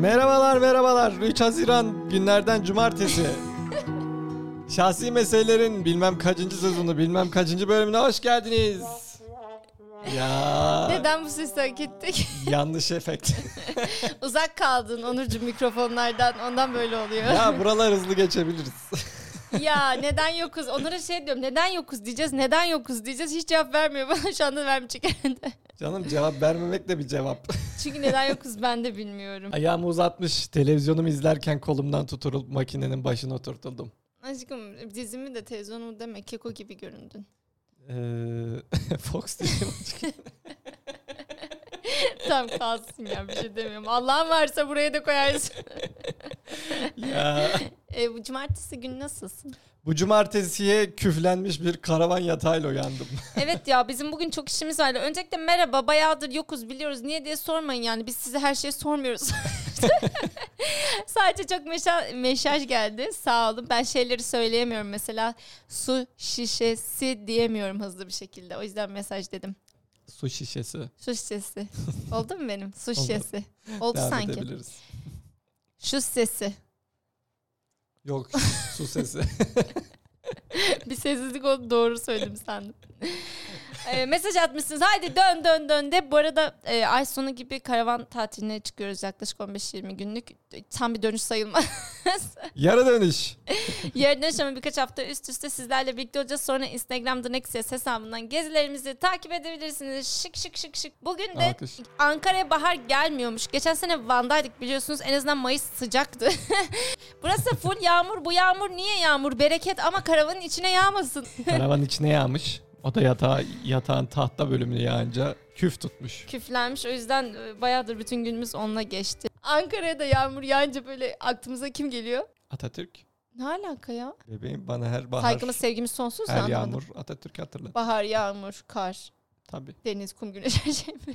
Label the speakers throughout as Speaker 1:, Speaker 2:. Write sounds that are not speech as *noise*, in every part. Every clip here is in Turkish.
Speaker 1: Merhabalar merhabalar. 3 Haziran günlerden cumartesi. Şahsi meselelerin bilmem kaçıncı sezonu bilmem kaçıncı bölümüne hoş geldiniz. Ya
Speaker 2: Neden bu sesi hak ettik? *laughs*
Speaker 1: yanlış efekt.
Speaker 2: Uzak kaldın Onurcuğum mikrofonlardan ondan böyle oluyor. *laughs* Ya,
Speaker 1: ya buralar hızlı geçebiliriz.
Speaker 2: neden yokuz? Onlara şey diyorum neden yokuz diyeceğiz neden yokuz diyeceğiz hiç cevap vermiyor bana *laughs* şu anda vermeyecek herhalde.
Speaker 1: Canım cevap vermemek de bir cevap.
Speaker 2: Çünkü neden yokuz ben de bilmiyorum.
Speaker 1: Ayağımı uzatmış televizyonumu izlerken kolumdan tutulup makinenin başına oturtuldum.
Speaker 2: Aşkım dizimi de televizyonumu deme keko gibi göründün. *laughs*
Speaker 1: Ee, *laughs* Fox diyeceğim açık.
Speaker 2: Tam kalsın ya bir şey demiyorum. Allah'ın varsa buraya da koyarsın.
Speaker 1: ya.
Speaker 2: E, bu cumartesi günü nasılsın?
Speaker 1: Bu cumartesiye küflenmiş bir karavan yatağıyla uyandım.
Speaker 2: Evet ya bizim bugün çok işimiz var. Öncelikle merhaba bayağıdır yokuz biliyoruz. Niye diye sormayın yani biz size her şeyi sormuyoruz. *laughs* Sadece çok meşa- mesaj geldi sağ olun. Ben şeyleri söyleyemiyorum mesela su şişesi diyemiyorum hızlı bir şekilde. O yüzden mesaj dedim.
Speaker 1: Su şişesi.
Speaker 2: Su şişesi. Oldu mu benim? Su şişesi. Oldu
Speaker 1: Devam
Speaker 2: sanki.
Speaker 1: edebiliriz.
Speaker 2: Şu sesi.
Speaker 1: Yok su sesi. *laughs*
Speaker 2: bir sessizlik oldu doğru söyledim sandım. *laughs* Ee, mesaj atmışsınız. Haydi dön dön dön de. Bu arada e, ay sonu gibi karavan tatiline çıkıyoruz yaklaşık 15-20 günlük. Tam bir dönüş sayılmaz.
Speaker 1: Yarı dönüş.
Speaker 2: *laughs* Yarın dönüş ama birkaç hafta üst üste sizlerle birlikte olacağız. Sonra Instagram'da Nexus hesabından gezilerimizi takip edebilirsiniz. Şık şık şık şık. Bugün de
Speaker 1: Alkış.
Speaker 2: Ankara'ya bahar gelmiyormuş. Geçen sene Van'daydık biliyorsunuz. En azından Mayıs sıcaktı. *laughs* Burası full yağmur. Bu yağmur niye yağmur? Bereket ama karavanın içine yağmasın.
Speaker 1: Karavan içine yağmış. O da yatağa, yatağın tahta bölümünü yağınca küf tutmuş.
Speaker 2: küflenmiş. O yüzden e, bayağıdır bütün günümüz onunla geçti. Ankara'da yağmur yağınca böyle aklımıza kim geliyor?
Speaker 1: Atatürk.
Speaker 2: Ne alaka ya?
Speaker 1: Bebeğim bana her bahar,
Speaker 2: Saygımız, sevgimiz sonsuz da
Speaker 1: her
Speaker 2: anlamadım.
Speaker 1: yağmur Atatürk hatırlat.
Speaker 2: Bahar, yağmur, kar,
Speaker 1: Tabii.
Speaker 2: deniz, kum, güneş her şey mi?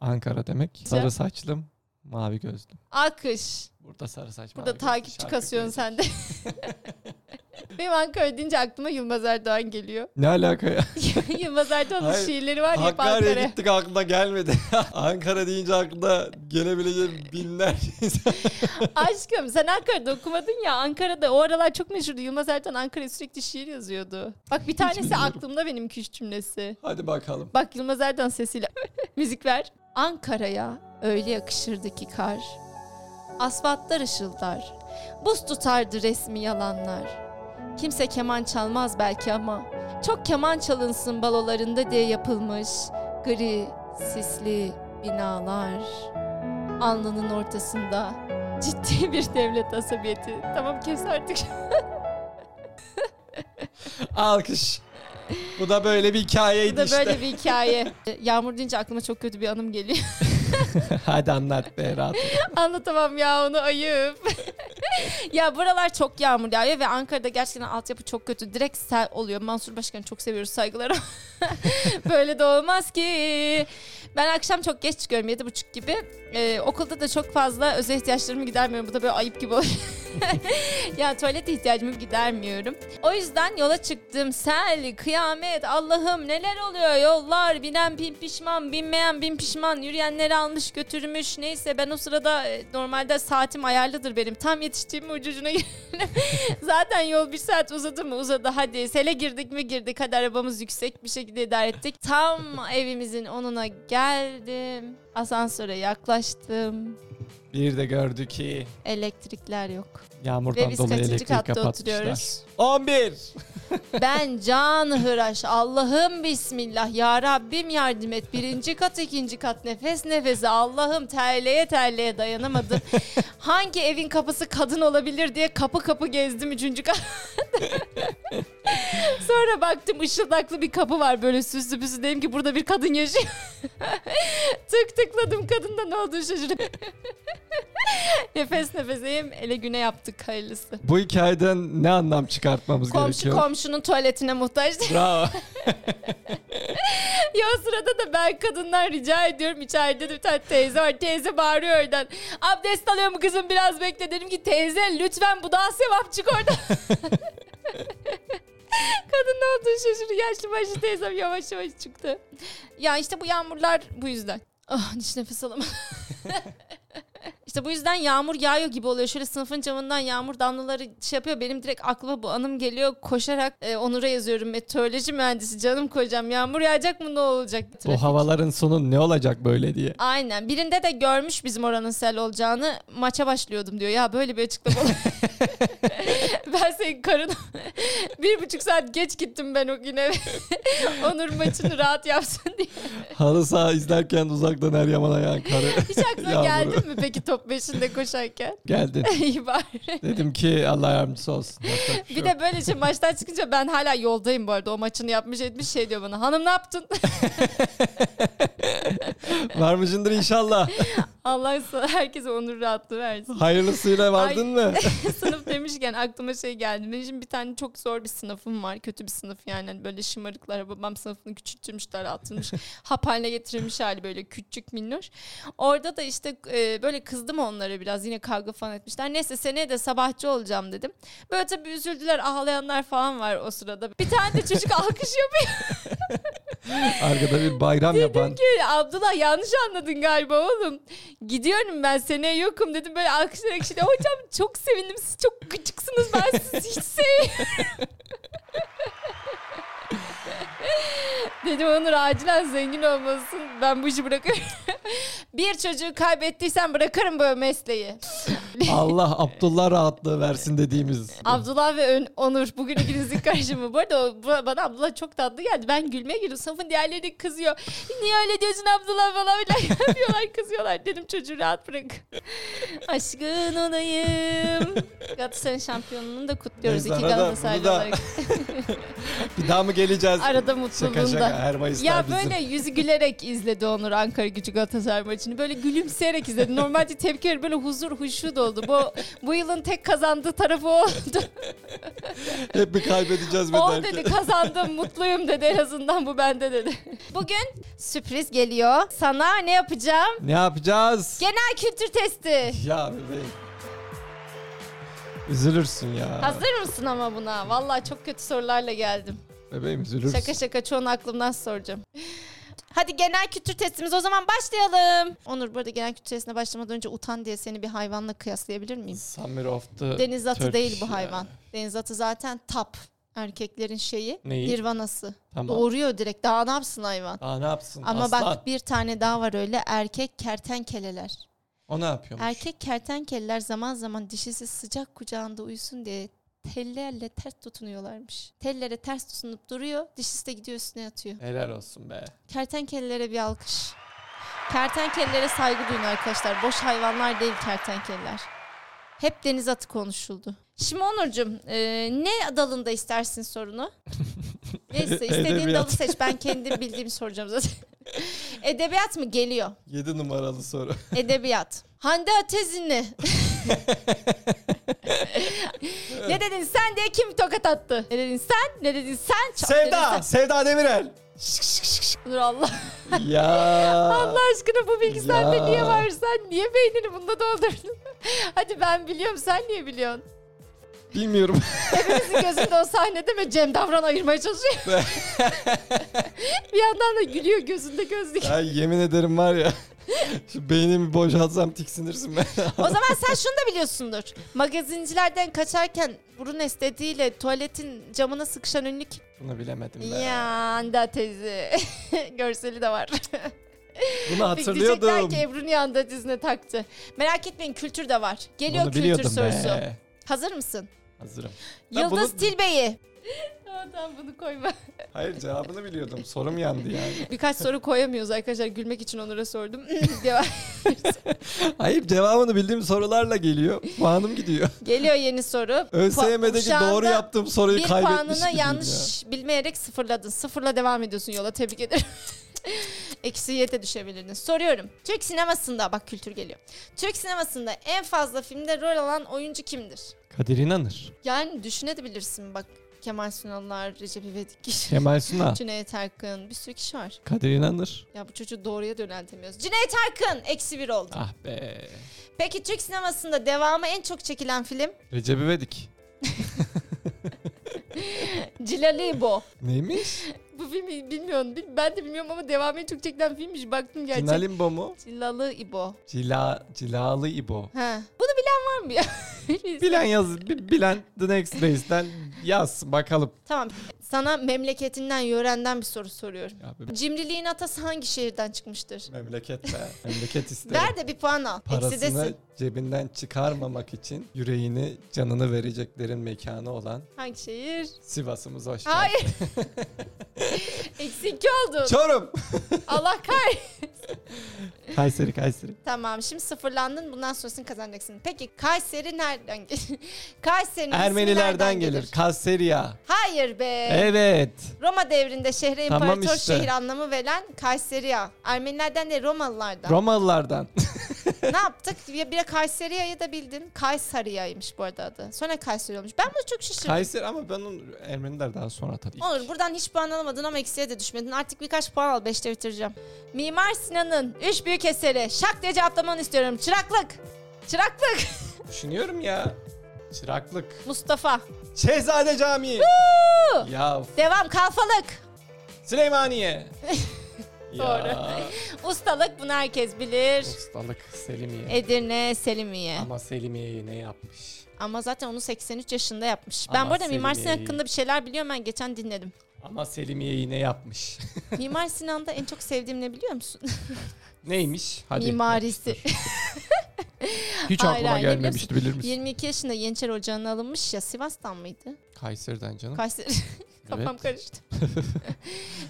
Speaker 1: Ankara demek. Sarı saçlım, mavi gözlüm.
Speaker 2: Akış.
Speaker 1: Burada sarı saç,
Speaker 2: Burada
Speaker 1: mavi gözlü,
Speaker 2: takipçi
Speaker 1: şarkı
Speaker 2: kasıyorsun
Speaker 1: söyleyecek.
Speaker 2: sen de.
Speaker 1: *laughs*
Speaker 2: Benim Ankara deyince aklıma Yılmaz Erdoğan geliyor. *laughs*
Speaker 1: Ne alaka ya?
Speaker 2: Yılmaz Erdoğan'ın
Speaker 1: Hayır,
Speaker 2: şiirleri var ya hep
Speaker 1: Hakkari'ye
Speaker 2: Ankara.
Speaker 1: gittik aklına gelmedi. *laughs* Ankara deyince aklına gelebilecek binlerce insan.
Speaker 2: *laughs* Aşkım sen Ankara'da okumadın ya. Ankara'da o aralar çok meşhurdu. Yılmaz Erdoğan Ankara'ya sürekli şiir yazıyordu. Bak bir tanesi
Speaker 1: bilmiyorum.
Speaker 2: aklımda benim küçük cümlesi.
Speaker 1: Hadi bakalım.
Speaker 2: Bak Yılmaz Erdoğan sesiyle *laughs* müzik ver. Ankara'ya öyle yakışırdı ki kar. Asfaltlar ışıldar. Buz tutardı resmi yalanlar. Kimse keman çalmaz belki ama çok keman çalınsın balolarında diye yapılmış gri, sisli binalar. Alnının ortasında ciddi *laughs* bir devlet asabiyeti. Tamam kes artık.
Speaker 1: Alkış. Bu da böyle bir hikayeydi
Speaker 2: Bu da
Speaker 1: işte.
Speaker 2: böyle bir hikaye. Yağmur deyince aklıma çok kötü bir anım geliyor.
Speaker 1: *laughs* Hadi anlat be rahat. ol.
Speaker 2: *laughs* Anlatamam ya onu ayıp. ya buralar çok yağmur yağıyor ve Ankara'da gerçekten altyapı çok kötü. Direkt sel oluyor. Mansur Başkan'ı çok seviyoruz saygılar. *laughs* Böyle de olmaz ki. Ben akşam çok geç çıkıyorum yedi buçuk gibi. Ee, okulda da çok fazla özel ihtiyaçlarımı gidermiyorum. Bu da böyle ayıp gibi oluyor. *laughs* ya tuvalet ihtiyacımı gidermiyorum. O yüzden yola çıktım. Sel, kıyamet, Allah'ım neler oluyor? Yollar, binen bin pişman, binmeyen bin pişman, yürüyenleri almış götürmüş. Neyse ben o sırada e, normalde saatim ayarlıdır benim. Tam yetiştiğim ucucuna *laughs* girdim. Zaten yol bir saat uzadı mı uzadı. Hadi sele girdik mi girdik. Hadi arabamız yüksek bir şekilde idare ettik. Tam evimizin onuna geldim. Asansöre yaklaştım.
Speaker 1: Bir de gördü ki
Speaker 2: Elektrikler yok. Ve
Speaker 1: yağmurdan
Speaker 2: biz
Speaker 1: dolayı
Speaker 2: kaçıncı
Speaker 1: elektriği
Speaker 2: katta
Speaker 1: kapatmışlar.
Speaker 2: oturuyoruz?
Speaker 1: 11.
Speaker 2: Ben can hıraş Allah'ım bismillah ya Rabbim yardım et. Birinci kat ikinci kat nefes nefese Allah'ım terleye terleye dayanamadım. Hangi evin kapısı kadın olabilir diye kapı kapı gezdim üçüncü kat. *laughs* Sonra baktım ışıldaklı bir kapı var böyle süslü püslü dedim ki burada bir kadın yaşıyor. *laughs* Tık tıkladım kadında ne olduğunu şaşırdım. *laughs* nefes nefeseyim ele güne yaptık hayırlısı.
Speaker 1: Bu hikayeden ne anlam çıkartmamız
Speaker 2: Komşu
Speaker 1: gerekiyor?
Speaker 2: komşunun tuvaletine muhtaç *laughs*
Speaker 1: Bravo.
Speaker 2: Ya o sırada da ben kadından rica ediyorum. İçeride de bir tane teyze var. Teyze bağırıyor oradan. Abdest alıyor mu kızım biraz bekle. Dedim ki teyze lütfen bu daha sevap çık oradan. *laughs* Kadın ne olduğunu şaşırdı. Yaşlı başlı teyzem yavaş yavaş çıktı. Ya işte bu yağmurlar bu yüzden. Ah hiç nefes alamadım. *laughs* İşte bu yüzden yağmur yağıyor gibi oluyor. Şöyle sınıfın camından yağmur damlaları şey yapıyor. Benim direkt aklıma bu anım geliyor. Koşarak e, Onur'a yazıyorum. Meteoroloji mühendisi canım kocam. Yağmur yağacak mı ne olacak?
Speaker 1: Bu havaların sonu ne olacak böyle diye.
Speaker 2: Aynen. Birinde de görmüş bizim oranın sel olacağını. Maça başlıyordum diyor. Ya böyle bir açıklama olur. ben senin karın *laughs* bir buçuk saat geç gittim ben o güne. *laughs* Onur maçını rahat yapsın diye.
Speaker 1: Halı saha izlerken uzaktan her yaman ayağın
Speaker 2: *laughs*
Speaker 1: karı.
Speaker 2: Hiç aklına
Speaker 1: Yağmuru.
Speaker 2: geldi mi peki top beşinde koşarken? *laughs*
Speaker 1: Geldi.
Speaker 2: İyi bari.
Speaker 1: Dedim ki Allah yardımcısı olsun. Yapacak şey
Speaker 2: Bir
Speaker 1: yok.
Speaker 2: de böyle şey maçtan çıkınca ben hala yoldayım bu arada. O maçını yapmış etmiş şey diyor bana. Hanım ne yaptın? *laughs*
Speaker 1: Varmışındır
Speaker 2: *laughs*
Speaker 1: inşallah.
Speaker 2: Allah sana herkese onur rahatlığı versin.
Speaker 1: Hayırlısıyla vardın mı?
Speaker 2: *laughs* sınıf demişken aklıma şey geldi. Benim şimdi bir tane çok zor bir sınıfım var. Kötü bir sınıf yani. Hani Böyle şımarıklar. Babam sınıfını küçültmüş, daraltılmış. hap haline getirilmiş hali böyle küçük minnoş. Orada da işte e, böyle kızdım onlara biraz. Yine kavga falan etmişler. Neyse seneye de sabahçı olacağım dedim. Böyle tabii üzüldüler. Ağlayanlar falan var o sırada. Bir tane de çocuk *laughs* alkış yapıyor.
Speaker 1: Arkada bir bayram
Speaker 2: Dedim
Speaker 1: yapan.
Speaker 2: ki Abdullah yanlış anladın galiba oğlum. Gidiyorum ben seneye yokum dedim böyle alkışlayarak şimdi hocam *laughs* çok sevindim siz çok gıcıksınız ben sizi hiç sevmiyorum. *laughs* dedim Onur acilen zengin olmasın ben bu işi bırakıyorum. *laughs* Bir çocuğu kaybettiysen bırakırım bu mesleği.
Speaker 1: Allah Abdullah rahatlığı versin dediğimiz.
Speaker 2: Abdullah ve Ön- Onur bugün ikinizin karşıma. Bu arada o- bu- bana Abdullah çok tatlı geldi. Ben gülmeye girdim. Sınıfın diğerleri kızıyor. Niye öyle diyorsun Abdullah falan filan *laughs* yapıyorlar kızıyorlar. Dedim çocuğu rahat bırak. *laughs* Aşkın olayım. Galatasaray'ın şampiyonluğunu da kutluyoruz.
Speaker 1: Biz
Speaker 2: iki
Speaker 1: arada bunu
Speaker 2: Galatasaraylı
Speaker 1: da-
Speaker 2: olarak.
Speaker 1: Bir daha mı geleceğiz?
Speaker 2: Arada
Speaker 1: Şaka şaka
Speaker 2: mutluluğunda.
Speaker 1: her Mayıslar
Speaker 2: Ya
Speaker 1: bizim.
Speaker 2: böyle yüzü gülerek izledi Onur Ankara Gücü Galatasaray maçını. Böyle gülümseyerek izledi. Normalde tepki verir, böyle huzur huşu doldu. Bu bu yılın tek kazandığı tarafı o oldu.
Speaker 1: Hep bir kaybedeceğiz be
Speaker 2: O
Speaker 1: derken.
Speaker 2: dedi kazandım mutluyum dedi en azından bu bende dedi. Bugün sürpriz geliyor. Sana ne yapacağım?
Speaker 1: Ne yapacağız?
Speaker 2: Genel kültür testi.
Speaker 1: Ya bebeğim. Üzülürsün ya.
Speaker 2: Hazır mısın ama buna? Vallahi çok kötü sorularla geldim.
Speaker 1: Bebeğim üzülürsün.
Speaker 2: Şaka şaka çoğunu aklımdan soracağım. Hadi genel kültür testimiz o zaman başlayalım. Onur burada genel kültür testine başlamadan önce utan diye seni bir hayvanla kıyaslayabilir miyim?
Speaker 1: Summer of the
Speaker 2: Deniz atı
Speaker 1: Turkish
Speaker 2: değil bu
Speaker 1: ya.
Speaker 2: hayvan. Deniz atı zaten tap. Erkeklerin şeyi.
Speaker 1: Neyi?
Speaker 2: Nirvanası.
Speaker 1: Tamam.
Speaker 2: Doğuruyor direkt. Daha ne yapsın hayvan?
Speaker 1: Aa ne yapsın
Speaker 2: Ama
Speaker 1: aslan.
Speaker 2: bak bir tane daha var öyle erkek kertenkeleler.
Speaker 1: O ne yapıyormuş?
Speaker 2: Erkek kertenkeleler zaman zaman dişisi sıcak kucağında uyusun diye tellerle ters tutunuyorlarmış. Tellere ters tutunup duruyor, dişisi de gidiyor üstüne yatıyor.
Speaker 1: Helal olsun be.
Speaker 2: Kertenkelelere bir alkış. Kertenkelelere saygı duyun arkadaşlar. Boş hayvanlar değil kertenkeleler. Hep deniz atı konuşuldu. Şimdi Onurcuğum e, ne dalında
Speaker 1: *laughs*
Speaker 2: istersin sorunu? Neyse istediğin dalı
Speaker 1: Edebiyat.
Speaker 2: seç. Ben kendim bildiğimi soracağım zaten. *laughs* Edebiyat mı? Geliyor.
Speaker 1: 7 numaralı soru.
Speaker 2: Edebiyat. Hande
Speaker 1: *laughs*
Speaker 2: Atezinli. ne dedin sen diye kim tokat attı? Ne dedin sen? Ne dedin sen?
Speaker 1: *laughs*
Speaker 2: Çat
Speaker 1: Sevda!
Speaker 2: dedin
Speaker 1: Sevda Demirel!
Speaker 2: sen. Dur Allah.
Speaker 1: ya!
Speaker 2: Allah aşkına bu bilgi
Speaker 1: Ya.
Speaker 2: sende niye var? Sen niye beynini bunda doldurdun? *laughs* Hadi ben biliyorum sen niye biliyorsun?
Speaker 1: Bilmiyorum. *laughs*
Speaker 2: Hepimizin gözünde o sahnede ve Cem Davran ayırmaya çalışıyor. *laughs* bir yandan da gülüyor
Speaker 1: *laughs*
Speaker 2: gözünde gözlük.
Speaker 1: ya yemin ederim var ya. *laughs* Şu beynimi boşaltsam tiksinirsin ben. *laughs*
Speaker 2: O zaman sen şunu da biliyorsundur. Magazincilerden kaçarken burun estetiğiyle tuvaletin camına sıkışan ünlü kim?
Speaker 1: Bunu bilemedim ben.
Speaker 2: Ya Hande teyze. *laughs* Görseli de var. *laughs*
Speaker 1: Bunu
Speaker 2: Diyecekler
Speaker 1: hatırlıyordum.
Speaker 2: ki Ebru niye Hande teyzine taktı. Merak etmeyin kültür de var. Geliyor
Speaker 1: Bunu
Speaker 2: kültür
Speaker 1: biliyordum
Speaker 2: sorusu.
Speaker 1: be.
Speaker 2: Hazır mısın?
Speaker 1: Hazırım. Ya
Speaker 2: Yıldız
Speaker 1: bunu-
Speaker 2: *laughs* Tilbe'yi. Tamam bunu koyma.
Speaker 1: Hayır cevabını biliyordum. Sorum yandı yani.
Speaker 2: *laughs* Birkaç soru koyamıyoruz arkadaşlar. Gülmek için Onur'a sordum. *laughs* Devam.
Speaker 1: Hayır cevabını bildiğim sorularla geliyor. Puanım
Speaker 2: *laughs*
Speaker 1: gidiyor.
Speaker 2: Geliyor yeni soru.
Speaker 1: ÖSYM'deki
Speaker 2: Şu anda
Speaker 1: doğru yaptığım soruyu
Speaker 2: bir
Speaker 1: kaybetmiş
Speaker 2: puanını
Speaker 1: gibiyim ya.
Speaker 2: yanlış bilmeyerek sıfırladın. Sıfırla devam ediyorsun yola tebrik ederim. *laughs* Eksi yete düşebilirdin. Soruyorum. Türk sinemasında bak kültür geliyor. Türk sinemasında en fazla filmde rol alan oyuncu kimdir?
Speaker 1: Kadir İnanır.
Speaker 2: Yani düşünebilirsin bak. Kemal Sunallar, Recep İvedik, *laughs*
Speaker 1: Kemal Sunal.
Speaker 2: Cüneyt Arkın bir sürü kişi var.
Speaker 1: Kadir İnanır.
Speaker 2: Ya bu çocuğu doğruya döneltemiyoruz. Cüneyt Arkın eksi bir oldu.
Speaker 1: Ah be.
Speaker 2: Peki Türk sinemasında devamı en çok çekilen film?
Speaker 1: Recep İvedik.
Speaker 2: Cilalibo.
Speaker 1: Neymiş?
Speaker 2: *laughs* Bu filmi bilmiyorum. Bil- Ben de bilmiyorum ama devamını çok çekilen filmmiş. Baktım gerçekten.
Speaker 1: Cinalimbo mu?
Speaker 2: Cilalı İbo.
Speaker 1: Cila, cilalı İbo.
Speaker 2: Ha. Bunu bilen var mı ya? *laughs*
Speaker 1: Bilen yaz, bi- bilen The Next Race'den yaz bakalım.
Speaker 2: Tamam. Sana memleketinden, yörenden bir soru soruyorum.
Speaker 1: Ya,
Speaker 2: Cimriliğin atası hangi şehirden çıkmıştır?
Speaker 1: memleket be. Memleket isterim.
Speaker 2: Ver de bir puan al.
Speaker 1: Parasını
Speaker 2: Eksidesin.
Speaker 1: cebinden çıkarmamak için yüreğini, canını vereceklerin mekanı olan
Speaker 2: Hangi şehir?
Speaker 1: Sivas'ımız hoş geldin.
Speaker 2: Hayır. *laughs* Eksi iki oldu.
Speaker 1: Çorum.
Speaker 2: Allah kay.
Speaker 1: Kayseri, Kayseri.
Speaker 2: Tamam şimdi sıfırlandın. Bundan sonrasını kazanacaksın. Peki Kayseri nereden *laughs* gelir? Kayseri'nin ismi
Speaker 1: Ermenilerden
Speaker 2: nereden
Speaker 1: gelir. Kasseriya.
Speaker 2: Hayır be.
Speaker 1: Evet.
Speaker 2: Roma devrinde şehre
Speaker 1: Tamam
Speaker 2: imparator
Speaker 1: işte.
Speaker 2: şehir anlamı verilen Kayseriya. Ermenilerden de Romalılardan.
Speaker 1: Romalılardan.
Speaker 2: ne yaptık? Ya bir de Kayseriya'yı da bildim. Kaysariya'ymış bu arada adı. Sonra Kayseri olmuş. Ben bunu çok şaşırdım.
Speaker 1: Kayseri ama ben onu Ermeniler daha sonra tabii.
Speaker 2: Olur buradan hiç puan alamadın ama eksiye de düşmedin. Artık birkaç puan al 5'te bitireceğim. Mimar Sinan'ın üç büyük eseri. Şak diye cevaplamanı istiyorum. Çıraklık. Çıraklık. *laughs*
Speaker 1: Düşünüyorum ya. Çıraklık.
Speaker 2: Mustafa.
Speaker 1: Şehzade Camii. ya f-
Speaker 2: Devam kalfalık. *laughs*
Speaker 1: Süleymaniye. Ya.
Speaker 2: Ustalık bunu herkes bilir.
Speaker 1: Ustalık Selimiye.
Speaker 2: Edirne, Selimiye.
Speaker 1: Ama Selimiye'yi ne yapmış?
Speaker 2: Ama zaten onu 83 yaşında yapmış.
Speaker 1: Ama
Speaker 2: ben burada Mimar Sinan
Speaker 1: Selimiye'yi-
Speaker 2: hakkında bir şeyler biliyorum ben geçen dinledim.
Speaker 1: Ama Selimiye'yi ne yapmış? *laughs*
Speaker 2: Mimar Sinan'da en çok sevdiğim ne biliyor musun?
Speaker 1: Neymiş? Hadi.
Speaker 2: Mimarisi. *laughs*
Speaker 1: Hiç
Speaker 2: Hayır,
Speaker 1: aklıma
Speaker 2: hayır, ne
Speaker 1: gelmemişti bilir misin?
Speaker 2: 22 yaşında Yeniçeri Ocağı'na alınmış ya Sivas'tan mıydı?
Speaker 1: Kayseri'den canım.
Speaker 2: Kayseri. *laughs* Kafam
Speaker 1: Evet. *laughs*
Speaker 2: karıştı.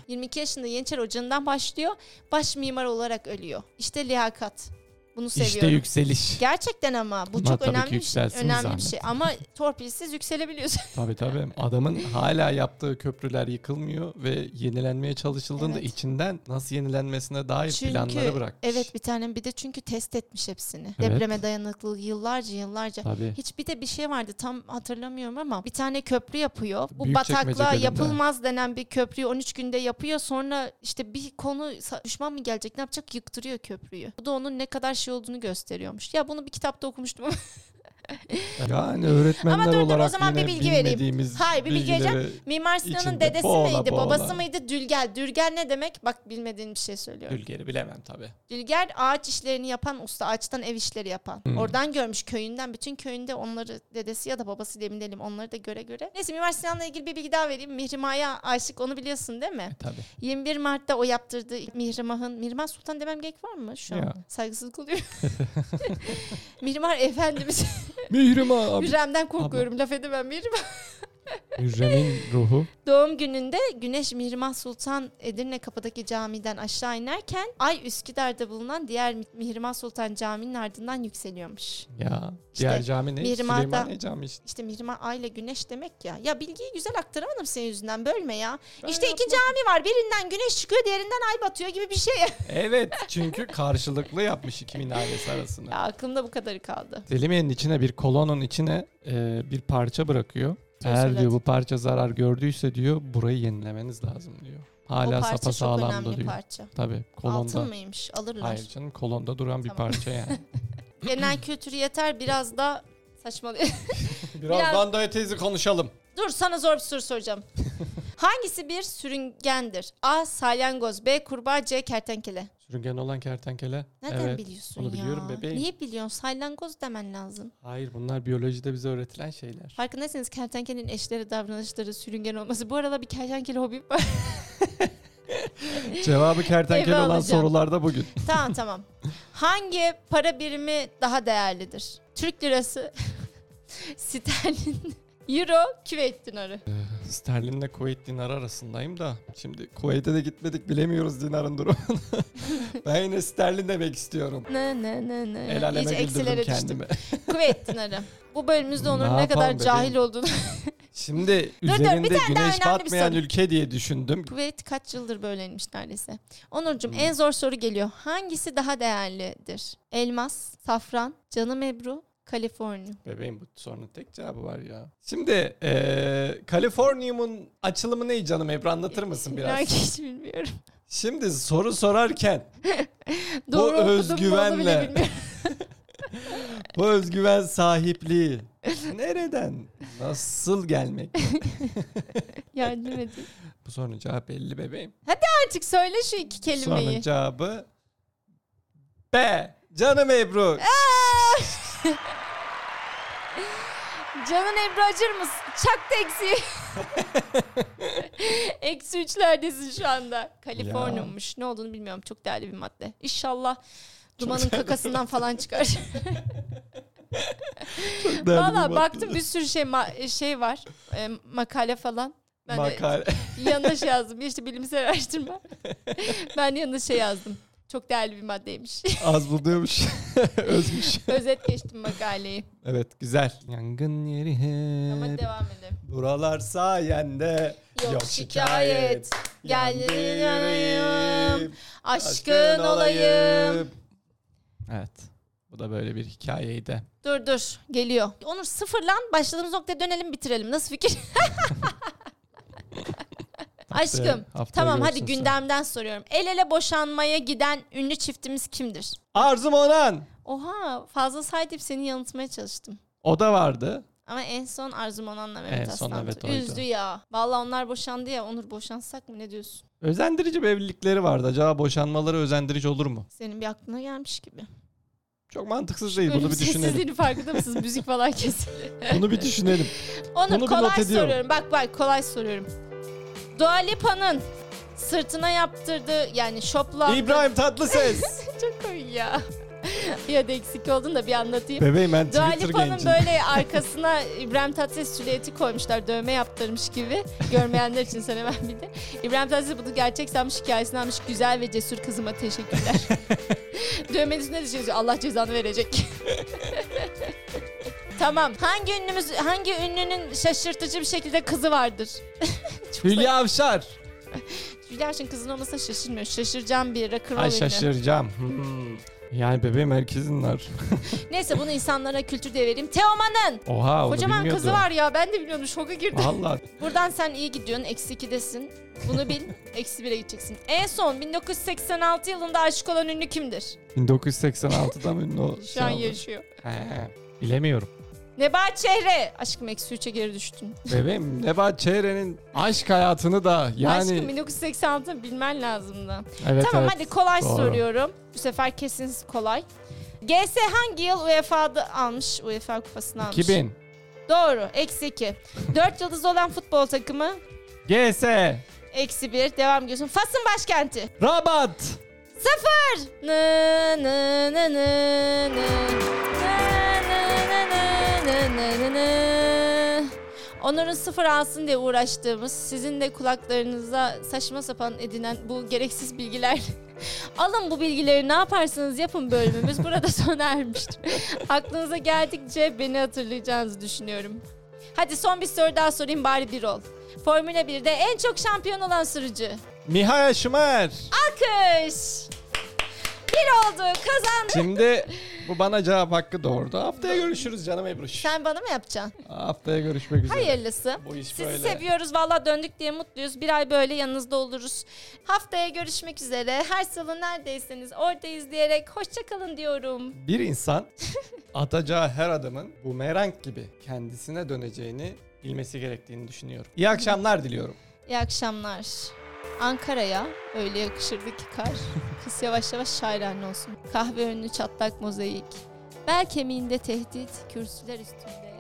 Speaker 2: 22 yaşında Yeniçeri Ocağı'ndan başlıyor. Baş mimar olarak ölüyor. İşte liyakat. Bunu seviyorum.
Speaker 1: işte yükseliş.
Speaker 2: Gerçekten ama bu
Speaker 1: Ama
Speaker 2: çok
Speaker 1: tabii ki
Speaker 2: önemli bir şey.
Speaker 1: yükselsin
Speaker 2: Önemli
Speaker 1: zahmet.
Speaker 2: bir şey. Ama torpilsiz yükselebiliyorsun.
Speaker 1: Tabii tabii. Adamın hala yaptığı köprüler yıkılmıyor ve yenilenmeye çalışıldığında
Speaker 2: Evet.
Speaker 1: içinden nasıl yenilenmesine dair
Speaker 2: Çünkü
Speaker 1: planları bırakmış.
Speaker 2: evet bir tanem bir de çünkü test etmiş hepsini.
Speaker 1: Evet.
Speaker 2: Depreme dayanıklılığı yıllarca yıllarca.
Speaker 1: Tabii.
Speaker 2: Hiç bir de bir şey vardı tam hatırlamıyorum ama bir tane köprü yapıyor. Bu
Speaker 1: Büyükçekmece
Speaker 2: bataklığa
Speaker 1: gölünde.
Speaker 2: yapılmaz denen bir köprüyü 13 günde yapıyor. Sonra işte bir konu sa- düşman mı gelecek ne yapacak yıktırıyor köprüyü. Bu da onun ne kadar şey olduğunu gösteriyormuş. Ya bunu bir kitapta okumuştum ama *laughs*
Speaker 1: Yani öğretmenler
Speaker 2: Ama dur, dur, o
Speaker 1: olarak
Speaker 2: zaman
Speaker 1: yine
Speaker 2: bir bilgi vereyim.
Speaker 1: bilmediğimiz
Speaker 2: Hayır, bir bilgi vereceğim.
Speaker 1: bilgileri-
Speaker 2: Mimar Sinan'ın
Speaker 1: İçinde
Speaker 2: dedesi
Speaker 1: boğula
Speaker 2: miydi
Speaker 1: boğula.
Speaker 2: babası mıydı Dülgel. Dülgel ne demek? Bak bilmediğin bir şey söylüyorum.
Speaker 1: Gülgeri bilemem tabii.
Speaker 2: Dülgel ağaç işlerini yapan usta. Ağaçtan ev işleri yapan.
Speaker 1: Hmm.
Speaker 2: Oradan görmüş köyünden. Bütün köyünde onları dedesi ya da babası demin değilim. Onları da göre göre. Neyse Mimar Sinan'la ilgili bir bilgi daha vereyim. Mihrimah'a aşık onu biliyorsun değil mi?
Speaker 1: Tabii.
Speaker 2: 21 Mart'ta o yaptırdığı Mihrimah'ın Mihrimah Sultan demem gerek var mı şu an?
Speaker 1: Ya.
Speaker 2: Saygısızlık oluyor. *laughs* Mihrimah Efendimiz.
Speaker 1: Mihrim abi.
Speaker 2: Hürrem'den korkuyorum. Laf edemem Mihrimah.
Speaker 1: Hürrem'in ruhu.
Speaker 2: Doğum gününde Güneş Mihrimah Sultan Edirne Kapı'daki camiden aşağı inerken Ay Üsküdar'da bulunan diğer Mi- Mihrimah Sultan Camii'nin ardından yükseliyormuş.
Speaker 1: Ya.
Speaker 2: İşte
Speaker 1: diğer cami ne?
Speaker 2: Mihrimah'da-
Speaker 1: Süleymaniye Camii işte.
Speaker 2: İşte Mihrimah Ay ile Güneş demek ya. Ya bilgiyi güzel aktaramadım senin yüzünden bölme ya.
Speaker 1: Ben
Speaker 2: işte iki cami var birinden güneş çıkıyor diğerinden ay batıyor gibi bir şey. *laughs*
Speaker 1: Evet çünkü karşılıklı yapmış iki minaresi arasını.
Speaker 2: ya aklımda bu kadarı kaldı.
Speaker 1: Selimiye'nin içine bir kolonun içine e, bir parça bırakıyor.
Speaker 2: Söz
Speaker 1: Eğer
Speaker 2: söyledi.
Speaker 1: diyor bu parça zarar gördüyse diyor burayı yenilemeniz lazım diyor. Hala
Speaker 2: o parça
Speaker 1: sapa
Speaker 2: çok önemli
Speaker 1: sağlamdı diyor.
Speaker 2: parça.
Speaker 1: Tabii kolonda.
Speaker 2: Altın mıymış alırlar.
Speaker 1: Hayır canım kolonda duran bir
Speaker 2: Tamam.
Speaker 1: parça
Speaker 2: *laughs*
Speaker 1: yani.
Speaker 2: Genel kültürü yeter biraz da saçmalıyor. Biraz-
Speaker 1: Dandaya teyze konuşalım.
Speaker 2: Dur sana zor bir
Speaker 1: *laughs*
Speaker 2: soru soracağım. Hangisi bir sürüngendir? A. Salyangoz B. Kurbağa C. Kertenkele
Speaker 1: Sürüngen olan kertenkele.
Speaker 2: Nereden
Speaker 1: evet.
Speaker 2: biliyorsun
Speaker 1: onu
Speaker 2: ya?
Speaker 1: biliyorum bebeğim.
Speaker 2: Niye biliyorsun? Salyangoz demen lazım.
Speaker 1: Hayır bunlar biyolojide bize öğretilen şeyler.
Speaker 2: Farkındaysanız kertenkelenin eşleri davranışları sürüngen olması. Bu arada bir kertenkele hobi var.
Speaker 1: *laughs*
Speaker 2: *laughs*
Speaker 1: Cevabı kertenkele
Speaker 2: Eve
Speaker 1: olan
Speaker 2: alacağım.
Speaker 1: sorularda bugün.
Speaker 2: tamam tamam. Hangi para birimi daha değerlidir? Türk lirası, *laughs* sterlin, *laughs* euro, Küveyt dinarı.
Speaker 1: Sterlinle Kuveyt dinarı arasındayım da şimdi Kuveyt'e de gitmedik bilemiyoruz dinarın
Speaker 2: *laughs*
Speaker 1: durumunu. ben yine sterlin demek istiyorum.
Speaker 2: Ne ne ne ne.
Speaker 1: El aleme
Speaker 2: İyice
Speaker 1: güldürdüm
Speaker 2: eksilere düştüm.
Speaker 1: kendimi.
Speaker 2: Kuveyt dinarı. Bu bölümümüzde
Speaker 1: Ne
Speaker 2: onun ne kadar
Speaker 1: yapalım
Speaker 2: cahil
Speaker 1: bebeğim?
Speaker 2: olduğunu
Speaker 1: Şimdi
Speaker 2: dur, bir
Speaker 1: üzerinde
Speaker 2: tane daha önemli bir
Speaker 1: güneş batmayan
Speaker 2: soru.
Speaker 1: ülke diye düşündüm.
Speaker 2: Kuveyt kaç yıldır böyleymiş neredeyse. Onurcuğum
Speaker 1: Hmm.
Speaker 2: en zor soru geliyor. Hangisi daha değerlidir? Elmas, safran, canım Ebru, Kaliforniya.
Speaker 1: Bebeğim bu sorunun tek cevabı var ya. Şimdi eee Kaliforniyum'un açılımı ne canım Ebru anlatır mısın
Speaker 2: İnan ki
Speaker 1: biraz?
Speaker 2: hiç bilmiyorum.
Speaker 1: Şimdi soru sorarken
Speaker 2: Doğru okudum mu onu bile
Speaker 1: özgüvenle.
Speaker 2: bilmiyorum.
Speaker 1: bu özgüven sahipliği nereden nasıl gelmek?
Speaker 2: Yardım edin.
Speaker 1: Bu sorunun cevabı belli bebeğim.
Speaker 2: Artık söyle şu iki
Speaker 1: Sorunun
Speaker 2: kelimeyi.
Speaker 1: cevabı B. Canım
Speaker 2: Eh,
Speaker 1: Ebru.
Speaker 2: Aa! *laughs* Canın Ebru acır mısın? Çak da eksi. *laughs* eksi üçlerdesin şu anda. Kaliforniyummuş. Ne olduğunu bilmiyorum. Çok değerli bir madde. İnşallah dumanın kakasından
Speaker 1: *laughs*
Speaker 2: falan çıkar. Valla baktım bir sürü şey ma- şey var. E, makale falan. Ben de *laughs*
Speaker 1: Makale. *laughs*
Speaker 2: yanına şey yazdım. İşte bilimsel araştırma. *laughs* ben de yanına şey yazdım. Çok değerli bir maddeymiş.
Speaker 1: Az buluyormuş. *laughs* Özmüş.
Speaker 2: *laughs* Özet geçtim makaleyi.
Speaker 1: Evet güzel. Yangın yeri
Speaker 2: Ama
Speaker 1: hep.
Speaker 2: devam edelim.
Speaker 1: Buralar sayende.
Speaker 2: Yok şikayet.
Speaker 1: Yandı
Speaker 2: Geldi
Speaker 1: yüreğim,
Speaker 2: yanayım. Aşkın olayım.
Speaker 1: Evet. Bu da böyle bir hikayeydi.
Speaker 2: Dur dur geliyor. Onur sıfırlan başladığımız noktaya dönelim bitirelim.
Speaker 1: *laughs*
Speaker 2: Nasıl fikir? Aşkım.
Speaker 1: Haftaya
Speaker 2: Tamam hadi
Speaker 1: görürsün sen.
Speaker 2: gündemden soruyorum. El ele boşanmaya giden ünlü çiftimiz kimdir?
Speaker 1: Arzum Onan.
Speaker 2: Oha fazla saydip seni yanıltmaya çalıştım.
Speaker 1: O da vardı.
Speaker 2: Ama en son Arzum Onan'la Mehmet
Speaker 1: En son
Speaker 2: Aslan.
Speaker 1: evet
Speaker 2: Tur-
Speaker 1: oydu.
Speaker 2: Üzdü ya. Vallahi onlar boşandı ya. Onur boşansak mı ne diyorsun?
Speaker 1: Özendirici bir evlilikleri vardı. Acaba boşanmaları özendirici olur mu?
Speaker 2: Senin bir aklına gelmiş gibi.
Speaker 1: Çok mantıksız değil. Bunu
Speaker 2: Bölüm
Speaker 1: bir düşünelim.
Speaker 2: sessizliğinin farkında mısınız?
Speaker 1: *laughs*
Speaker 2: Müzik falan kesildi.
Speaker 1: Bunu bir
Speaker 2: *laughs*
Speaker 1: düşünelim.
Speaker 2: Onur
Speaker 1: Bunu bir not
Speaker 2: kolay
Speaker 1: ediyorum.
Speaker 2: soruyorum. Bak bak kolay soruyorum. Dua Lipa'nın sırtına yaptırdığı yani şoplandı.
Speaker 1: İbrahim Tatlıses.
Speaker 2: Çok komik ya. *laughs* ya da eksik oldun da bir anlatayım.
Speaker 1: Bebeğim ben
Speaker 2: Dua
Speaker 1: Twitter
Speaker 2: Lipa'nın
Speaker 1: gencim.
Speaker 2: böyle arkasına İbrahim Tatlıses silüeti koymuşlar. Dövme yaptırmış gibi. Görmeyenler için söylemem bir de. İbrahim Tatlıses bunu gerçek sanmış hikayesini almış. Güzel ve cesur kızıma teşekkürler.
Speaker 1: *laughs*
Speaker 2: Dövmenin üstüne de şey yazıyor, Allah cezanı verecek. *laughs* tamam. Hangi ünlümüz, hangi ünlünün şaşırtıcı bir şekilde kızı vardır?
Speaker 1: Hülya Avşar.
Speaker 2: Hülya Avşar'ın kızın olmasa şaşırmıyor. Şaşıracağım bir rock'n'roll
Speaker 1: Ay
Speaker 2: ünlü.
Speaker 1: şaşıracağım. Hmm. Yani bebeğim herkesin var.
Speaker 2: Neyse bunu insanlara kültür diye vereyim. Teoman'ın
Speaker 1: Oha onu
Speaker 2: kocaman
Speaker 1: bilmiyordum.
Speaker 2: kızı var ya. Ben de biliyordum. Şoka girdim.
Speaker 1: Valla
Speaker 2: Buradan sen iyi gidiyorsun. Eksi 2'desin.
Speaker 1: *laughs*
Speaker 2: Bunu bil. eksi 1'e gideceksin. En son 1986 yılında aşık olan ünlü kimdir?
Speaker 1: 1986'da mı ünlü o?
Speaker 2: Şu an
Speaker 1: şey oldu?
Speaker 2: yarışıyor.
Speaker 1: He, Bilemiyorum.
Speaker 2: Nebahat Çehre. Aşkım eksi 3'e geri düştün.
Speaker 1: Bebeğim Nebahat Çehre'nin aşk hayatını da yani...
Speaker 2: Aşkım 1986 bilmen lazımdı.
Speaker 1: evet,
Speaker 2: tamam
Speaker 1: evet.
Speaker 2: hadi kolay
Speaker 1: doğru.
Speaker 2: soruyorum. Bu sefer kesin kolay. GS hangi yıl UEFA'da almış? UEFA kupasını almış.
Speaker 1: 2000.
Speaker 2: Doğru. Eksi 2. 4 yıldız olan futbol takımı.
Speaker 1: GS.
Speaker 2: Eksi 1. Devam ediyorsun. Fas'ın başkenti.
Speaker 1: Rabat.
Speaker 2: Sıfır. Nı nı nı nı nı. Nı nı nı nı nı nı nı. Onların sıfır alsın diye uğraştığımız, sizin de kulaklarınıza saçma sapan edinen bu gereksiz bilgiler. *laughs* Alın bu bilgileri ne yaparsanız yapın bölümümüz burada *laughs* sona ermiştir. Aklınıza geldikçe beni hatırlayacağınızı düşünüyorum. Hadi son bir soru daha sorayım bari bir ol. Formula 1'de en çok şampiyon olan sürücü.
Speaker 1: Mihaya Şümer.
Speaker 2: Alkış. Bir oldu kazandık.
Speaker 1: Şimdi bu bana cevap hakkı doğurdu. Haftaya görüşürüz canım Ebruş.
Speaker 2: Sen bana mı yapacaksın?
Speaker 1: Haftaya görüşmek üzere.
Speaker 2: Hayırlısı.
Speaker 1: Bu iş
Speaker 2: Sizi
Speaker 1: böyle.
Speaker 2: seviyoruz. Valla döndük diye mutluyuz. Bir ay böyle yanınızda oluruz. Haftaya görüşmek üzere. Her salı neredeyseniz oradayız diyerek hoşçakalın diyorum.
Speaker 1: Bir insan atacağı her adımın bumerang gibi kendisine döneceğini bilmesi gerektiğini düşünüyorum. İyi akşamlar diliyorum.
Speaker 2: İyi akşamlar. Ankara'ya öyle yakışırdı ki
Speaker 1: *laughs*
Speaker 2: kar. Kız yavaş yavaş şairanlı olsun. Kahve önlü çatlak mozaik. Bel kemiğinde tehdit, kürsüler üstünde.